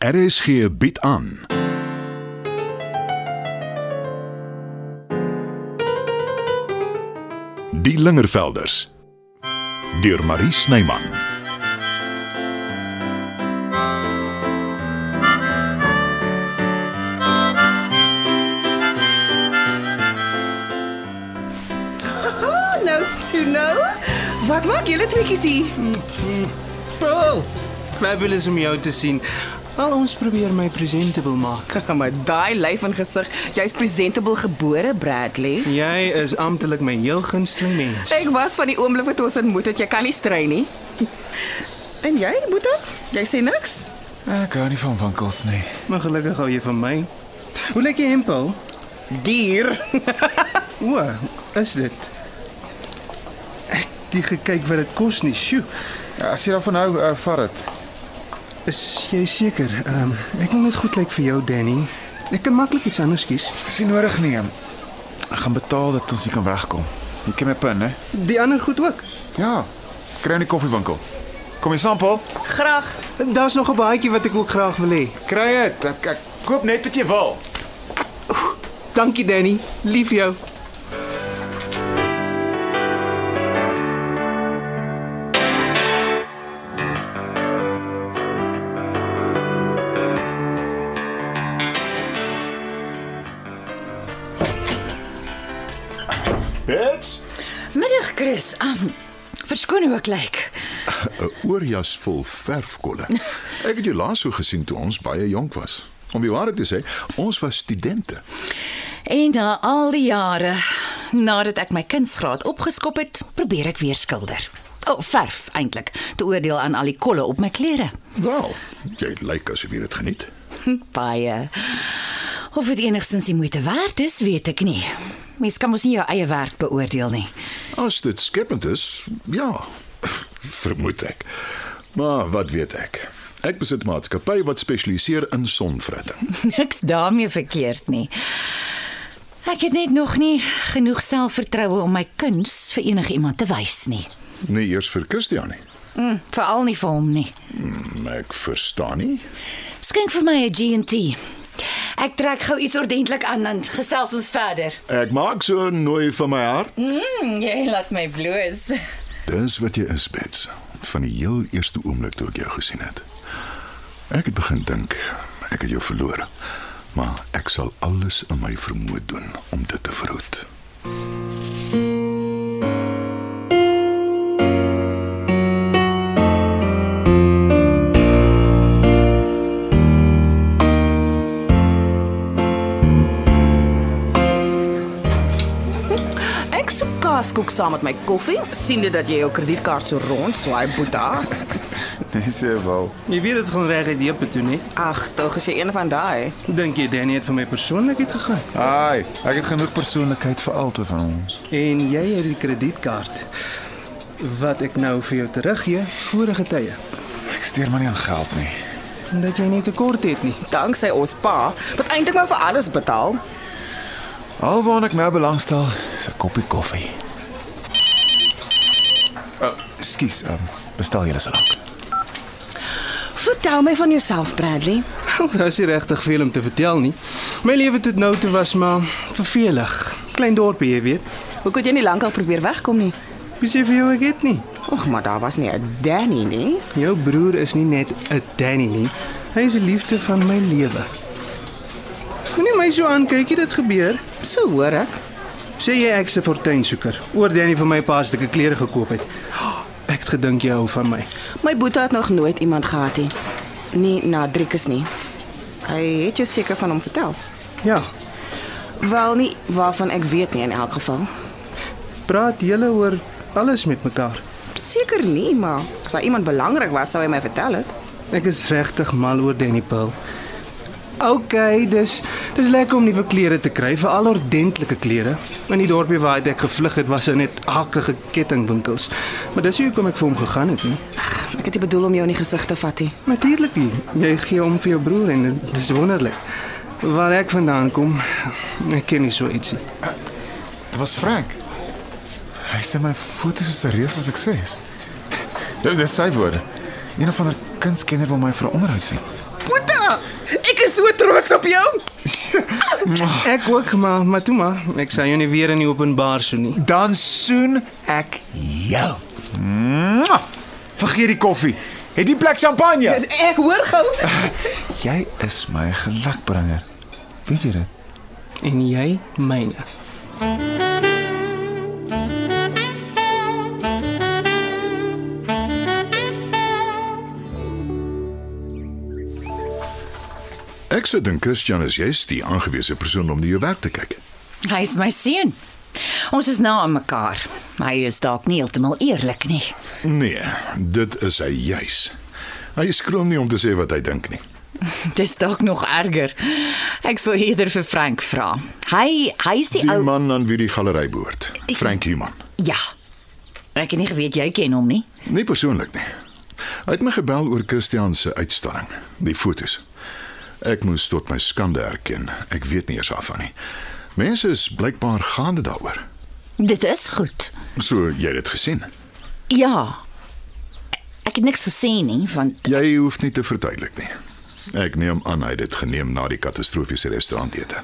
RSG bied aan. Die Lingervelders deur Marie Snyman. Ah, nou toe nou. Wat maak julle tweeetjies hier? Paul, fabulous om jou te sien. Al ons probeer my presentable maak. Kyk maar daai lyf en gesig. Jy's presentable gebore, Bradley. Jy is amptelik my heel gunsteling mens. Ek was van die oomblik wat ons ontmoet het, jy kan nie strei nie. En jy, Boeta? Jy sê niks? Ek hou nie van winkels nie. Maar gelukkig hou jy van my. Hoe lyk jy, en Paul? Dier. O, is dit? Ek het nie gekyk wat dit kos nie. Sjoe. Ja, as jy daarvan hou, uh, vat dit. Is jy seker? Ehm, um, ek wil net goed lyk vir jou, Danny. Ek kan maklik iets anders kies. Dis nie nodig nie. ehm? Ek gaan betaal dat ons hier kan wegkom. Jy ken my pin, hè? Die ander goed ook. Ja. Kry in die koffiewinkel. Kom jy saam, Paul? Graag. Daar's nog 'n baadjie wat ek ook graag wil hê. Kry dit. Ek, ek koop net wat jy wil. Dankie Danny. Lief jou. Bits. Middag Chris. Um, verskoon hoe ek lyk. 'n Oorjas vol verfkolle. Ek het jou laas so gesien toe ons baie jonk was. Om die waarheid te sê, ons was studente. En na al die jare nadat ek my kunsgraad opgeskop het, probeer ek weer skilder. O, oh, verf eintlik, te oordeel aan al die kolle op my klere. Hm, Wel, jy lyk asof jy dit geniet. Baie. Of dit enigstens die moeite werd is, weet ek nie. Mens kan mos nie jou eie werk beoordeel nie. As dit skepend is, ja, vermoed ek. Maar wat weet ek? Ek besit 'n maatskappy wat spesialiseer in sonvretting. Niks daarmee verkeerd nie. Ek het net nog nie genoeg selfvertroue om my kuns vir enige iemand te wys nie. Nie eers vir Christian nie. Mm, Veral nie vir hom nie. Maar ek verstaan nie. Skink vir my 'n G&T. Ek trek gou iets ordentlik aan dan gesels ons verder. Ek maak so nooi van my hart. Mm, jy laat my bloos. Dis wat jy is, Bets, van die heel eerste oomblik toe ek jou gesien het. Ek het begin dink ek het jou verloor, maar ek sal alles in my vermoë doen om dit te verhoed. Ek soek kaaskoek saam met my koffie. sien dit dat jy jou kredietkaart so rond swaai, Boeta? Dis jy wil. Jy weet dit gaan reguit diepe toe, nee. Ag, tog as jy een van daai. Dink jy Danny het vir my persoonlikheid gegaan? Haai, ek het genoeg persoonlikheid vir albei van ons. En jy het die kredietkaart wat ek nou vir jou teruggee vorige tye. Ek steur maar nie aan geld nie. Dat jy nie tekort het nie. Danksy ons pa wat eintlik maar vir alles betaal. Alwaar ek nou belangstel, is 'n koppie koffie. Oh, skus, um, bestel julle so lank. Vertel my van jouself, Bradley. Daar's nie regtig veel om te vertel nie. My lewe tot nou toe was maar vervelig. Klein dorpie, jy weet. Hoe kon jy nie lankal probeer wegkom nie? Besef jy hoe ek dit nie. Ag, maar daar was nie 'n Danny nie. Jou broer is nie net 'n Danny nie. Hy is die liefde van my lewe. Moenie my so aankyk, jy dit gebeur. So hoor ek. Sê jy ek's 'n fortuinsoeker. Oor Danny vir my 'n paar stukke klere gekoop het. Ek het gedink jy hou van my. My boetie het nog nooit iemand gehad nie. Nie na Driekus nie. Hy het jou seker van hom vertel. Ja. Wel nie waarvan ek weet nie in elk geval. Praat julle oor alles met mekaar. Seker nie, maar as daar iemand belangrik was, sou hy my vertel het. Ek is regtig mal oor Danny Paul. OK, dis dis lekker om nuwe klere te kry, veral ordentlike klere. In die dorpie waar ek gevlug het, was daar net hakkige kettingwinkels. Maar dis nie hoekom ek vir hom gegaan het nie. Ek het nie bedoel om jou in die gesig te vat nie. Natuurlik nie. Jy gee om vir jou broer en dit is wonderlik. Waar ek vandaan kom, ek ken nie so ietsie. Dit was Frank. Hy sê my foto's is 'n reuse sukses. Dit dis sy woorde. Een van haar kunstkenner wil my vir 'n onderhoud sien. Boeta! Ek is so trots op jou. Ek ook, maar maar toe maar, ek sal jou nie weer in die openbaar soen nie. Dan soen ek jou. Mwah! Vergeet die koffie. Het die plek champagne? Ja, Ek hoor gou. Jy is my gelukbringer. Weet jy dit? En jy myne. Ek sou dink Christian is jy's die aangewese persoon om na jou werk te kyk. Hy is my seun. Ons is na aan mekaar. Hy is dalk nie heeltemal eerlik nie. Nee, dit is hy juis. Hy skroom nie om te sê wat hy dink nie. Dis dalk nog erger. Ek sal eerder vir Frank vra. Hy hy is die, Die ou man aan wie die galery behoort, Frank Human. Ja. Ek het nie geweet jy ken hom nie. Nie persoonlik nie. Hy het my gebel oor Christian se uitstalling, die fotos. Ek moes tot my skande erken, ek weet nie eers daarvan nie. Mense is blykbaar gaande daaroor. Dit is goed. So jy het dit gesien. Ja. Ek het niks gesê nie want Jy hoef nie te verduidelik nie. Ek neem aan hy het dit geneem na die katastrofiese restaurantete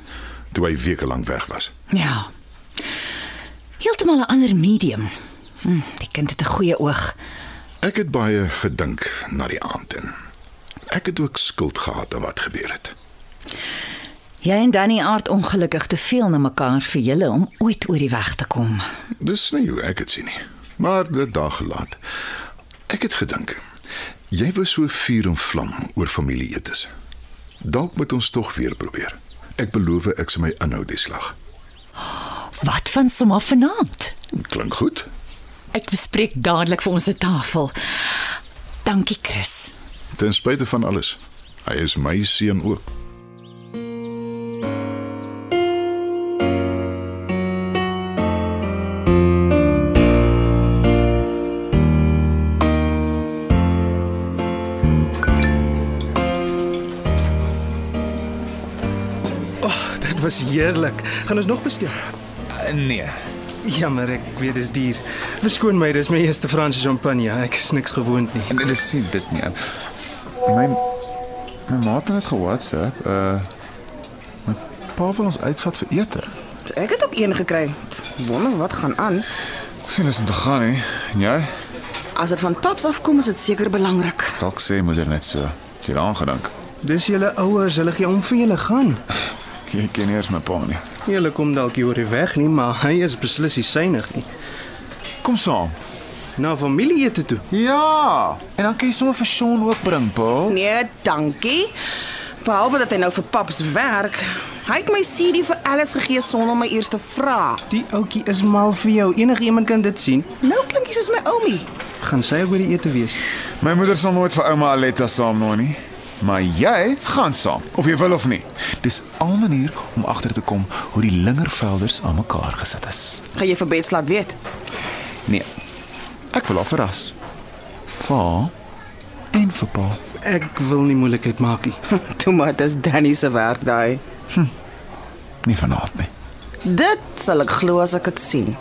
toe hy weke lank weg was. ja. Heeltemal 'n ander medium. Hm, die kind het 'n goeie oog. Ek het baie gedink na die aand en ek het ook skuld gehad aan wat gebeur het. Jy en Danny aard ongelukkig te veel na mekaar vir julle om ooit oor die weg te kom. Dis nie hoe ek dit sien nie. Maar dit dag laat. Ek het gedink jy was so vuur en vlam oor familieetes. Dalk moet ons tog weer probeer. Ek beloof ek sal my inhou die slag. Wat van sommer vanaand? Klink goed? Ek bespreek dadelik vir ons se tafel. Dankie, Chris. Ten spyte van alles. Hy is my seun ook. Dit was heerlik. Gaan ons nog bestel? Uh, nee. Jammer, ek weet dis duur. Verskoon my, dis my eerste Franse champagne. Ek is niks gewoond nie. En dit is nie dit nie. My my maat het net ge-WhatsApp. Uh my pa wil ons uitvat vir ete. Ek het ook een gekry. Wonder wat gaan aan. Sien as dit gaan hè. En jy? As dit van paps afkom, is dit seker belangrik. Dalk sê moeder net so. Het Jy het daaraan gedink. Dis julle ouers, hulle gee om vir julle gaan. Jy ken nie eers my pa nie. Julle kom dalk hier oor die weg nie, maar hy is beslis nie synig nie. Kom saam. Na familieete toe. Ja. En dan kan jy sommer vir Sean ook bring, Paul. Nee, dankie. Behalwe dat hy nou vir paps werk. Hy het my CD vir alles gegee sonder my eers te vra. Die ouetjie is mal vir jou. Enige iemand kan dit sien. Nou klink jy soos my oomie. Gaan sy ook by die ete wees? My moeder sal nooit vir ouma Aletta saamnooi nie. Maar jy gaan saam, of jy wil of nie. Dis al 'n manier om agter te kom hoe die lingervelders aan mekaar gesit is. Gaan jy vir Bets laat weet? Nee. Ek wil haar verras. Vir haar en vir pa. Ek wil nie moeilikheid maak nie. Toe maar, dis Danny se werk daai. Nie vanaand nie. Dit sal ek glo as ek dit sien.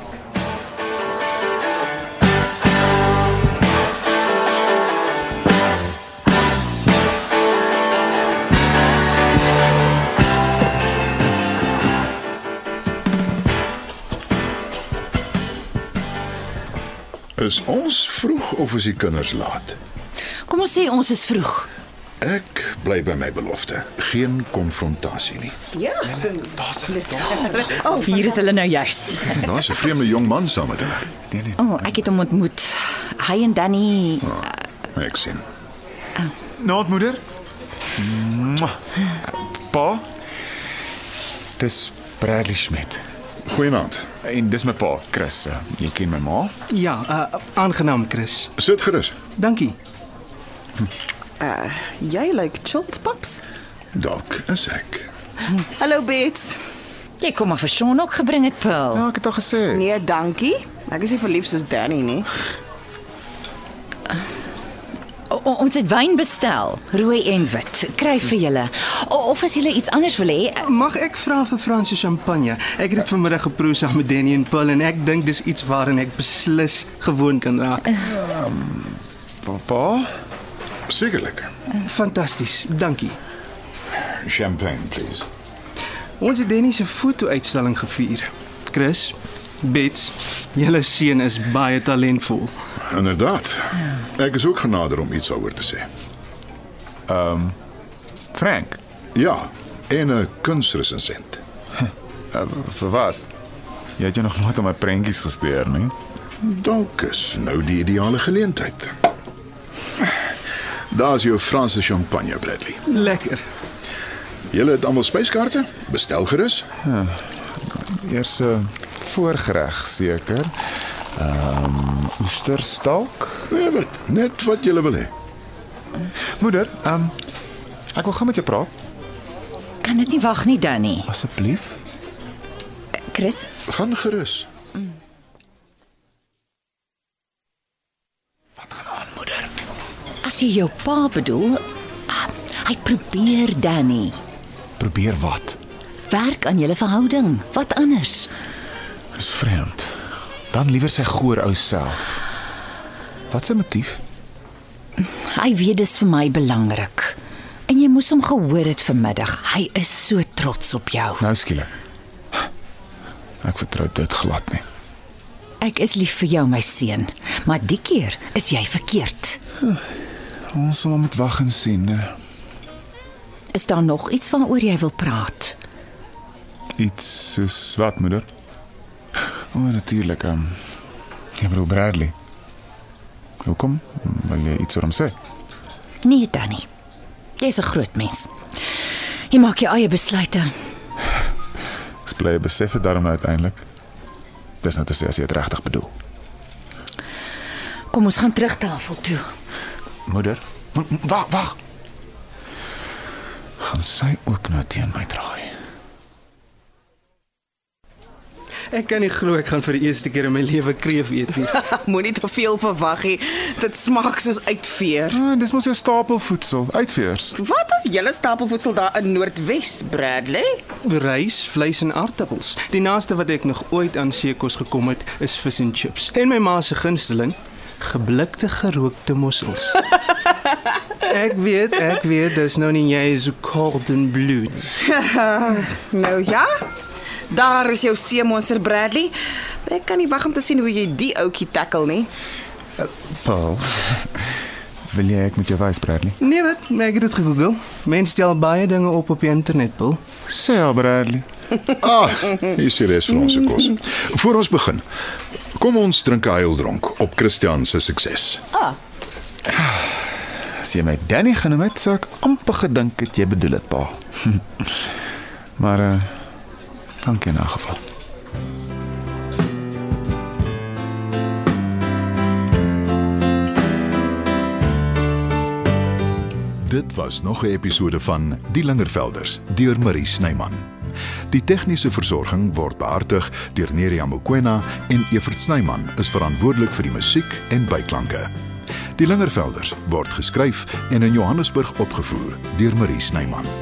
Is ons vroeg of is die kinders laat? Kom ons sê ons is vroeg. Ek bly by my belofte. Geen konfrontasie nie. Ja. Oh, hier is hulle nou juis. Daar's 'n vreemde jong man saam met hulle. Nee nee. O, oh, ek het hom ontmoet. Hy en Danny. Ek sien. Naat moeder. Mwah. Pa. Dis Bradley Schmidt. Goeienaand. En dis my pa, Chris. Eh, Jy ken my ma. Ja, uh, aangenaam, Chris. Sit gerus. Dankie. Uh, jy lyk like chilled paps. Dalk is ek. Hallo Bets. Jy kom maar vir Sean ook gebring het pil. Ja, ek het al gesê. Nee, dankie. Ek is nie verlief soos Danny nie. O, o, ons het wyn bestel, rooi en wit. Kry vir julle. O, of as julle iets anders wil hê. Mag ek vra vir Franse champagne? Ek het dit vanmiddag geproe saam met Danny en Paul en ek dink dis iets waarin ek beslis gewoond kan raak. Pa. pa? Sekerlik. Fantasties. Dankie. Champagne, please. Ons het Denny se foto-uitstalling gevier. Chris, Bets, julle seun is baie talentvol. Inderdaad. Ek is ook genader om iets daaroor te sê. Frank, Ja, en 'n Eh, kunstresensent. uh, vir wat? Jy het jou nog nooit aan my prentjies gesteer nie. Dalk is nou die ideale geleentheid. Daar's jou Franse champagne, Bradley. Lekker. Julle het almal spyskaarte? Bestel gerus. Eers 'n voorgereg seker. Ehm um, oesterstalk. Nee, wat, net wat julle wil hê. Moeder, ehm um, ek wil gaan met jou praat Kan dit nie wag nie, Danny. asseblief. Chris, Gaan gerus. as jy jou pa bedoel, ah, hy probeer Danny. Probeer wat? Werk aan julle verhouding. Wat anders? Dis vreemd. Dan liewer sy goor ou self. Wat se motief? Hy weet dis vir my belangrik. En jy moes hom gehoor het vanmiddag. Hy is so trots op jou. Nou skielik. Ek vertrou dit glad nie. Ek is lief vir jou, my seun, maar die keer is jy verkeerd. Ons sal maar moet wag en sien. né? Is daar nog iets waaroor jy wil praat? Iets soos wat, moeder? O, oh, natuurlik. Um, ek bedoel Bradley. Hoekom? Wil jy iets oor hom sê? Nee, Danny. Jy's 'n groot mens. Jy maak jou eie besluite. Ek bly jy besef dit daarom nou uiteindelik. Dis net as jy dit regtig bedoel. Kom ons gaan terug tafel toe. Moeder, mo- mo- wag, wag. Gaan sy ook nou teen my draai? Ek kan nie glo ek gaan vir die eerste keer in my lewe kreef eet nie. Moenie te veel verwag nie. Dit smaak soos uitveer. Ah, dis mos jou stapelvoedsel, uitveers. Wat is julle stapelvoedsel daar in Noordwes, Bradley? Rys, vleis en aartappels. Die naaste wat ek nog ooit aan seekos gekom het, is vis en chips. En my ma se gunsteling, geblikte gerookte mossels. ek weet, ek weet, dis nou nie jy is so cold and blue. nie. Nou ja. Daar is jou seemonster Bradley. Ek kan nie wag om te sien hoe jy die ouetjie tackle nie. Paul. Wil jy ek met jou wys, Bradley? Nee, wat? Ek het dit gegoogel. Mense stel baie dinge op op die internet, Bill. Sê ja, Bradley. Ah, hier is die res van ons kos. Voor ons begin, kom ons drink 'n heildronk op Christian se sukses. As jy my Danny genoem het, sou ek amper gedink het jy bedoel dit, Pa. maar eh uh, dankie in elk geval. Dit was nog 'n episode van Die Lingervelders deur Marie Snyman. Die tegniese versorging word behartig deur Neriya Mkwena en Evert Snyman is verantwoordelik vir die musiek en byklanke. Die Lingervelders word geskryf en in Johannesburg opgevoer deur Marie Snyman.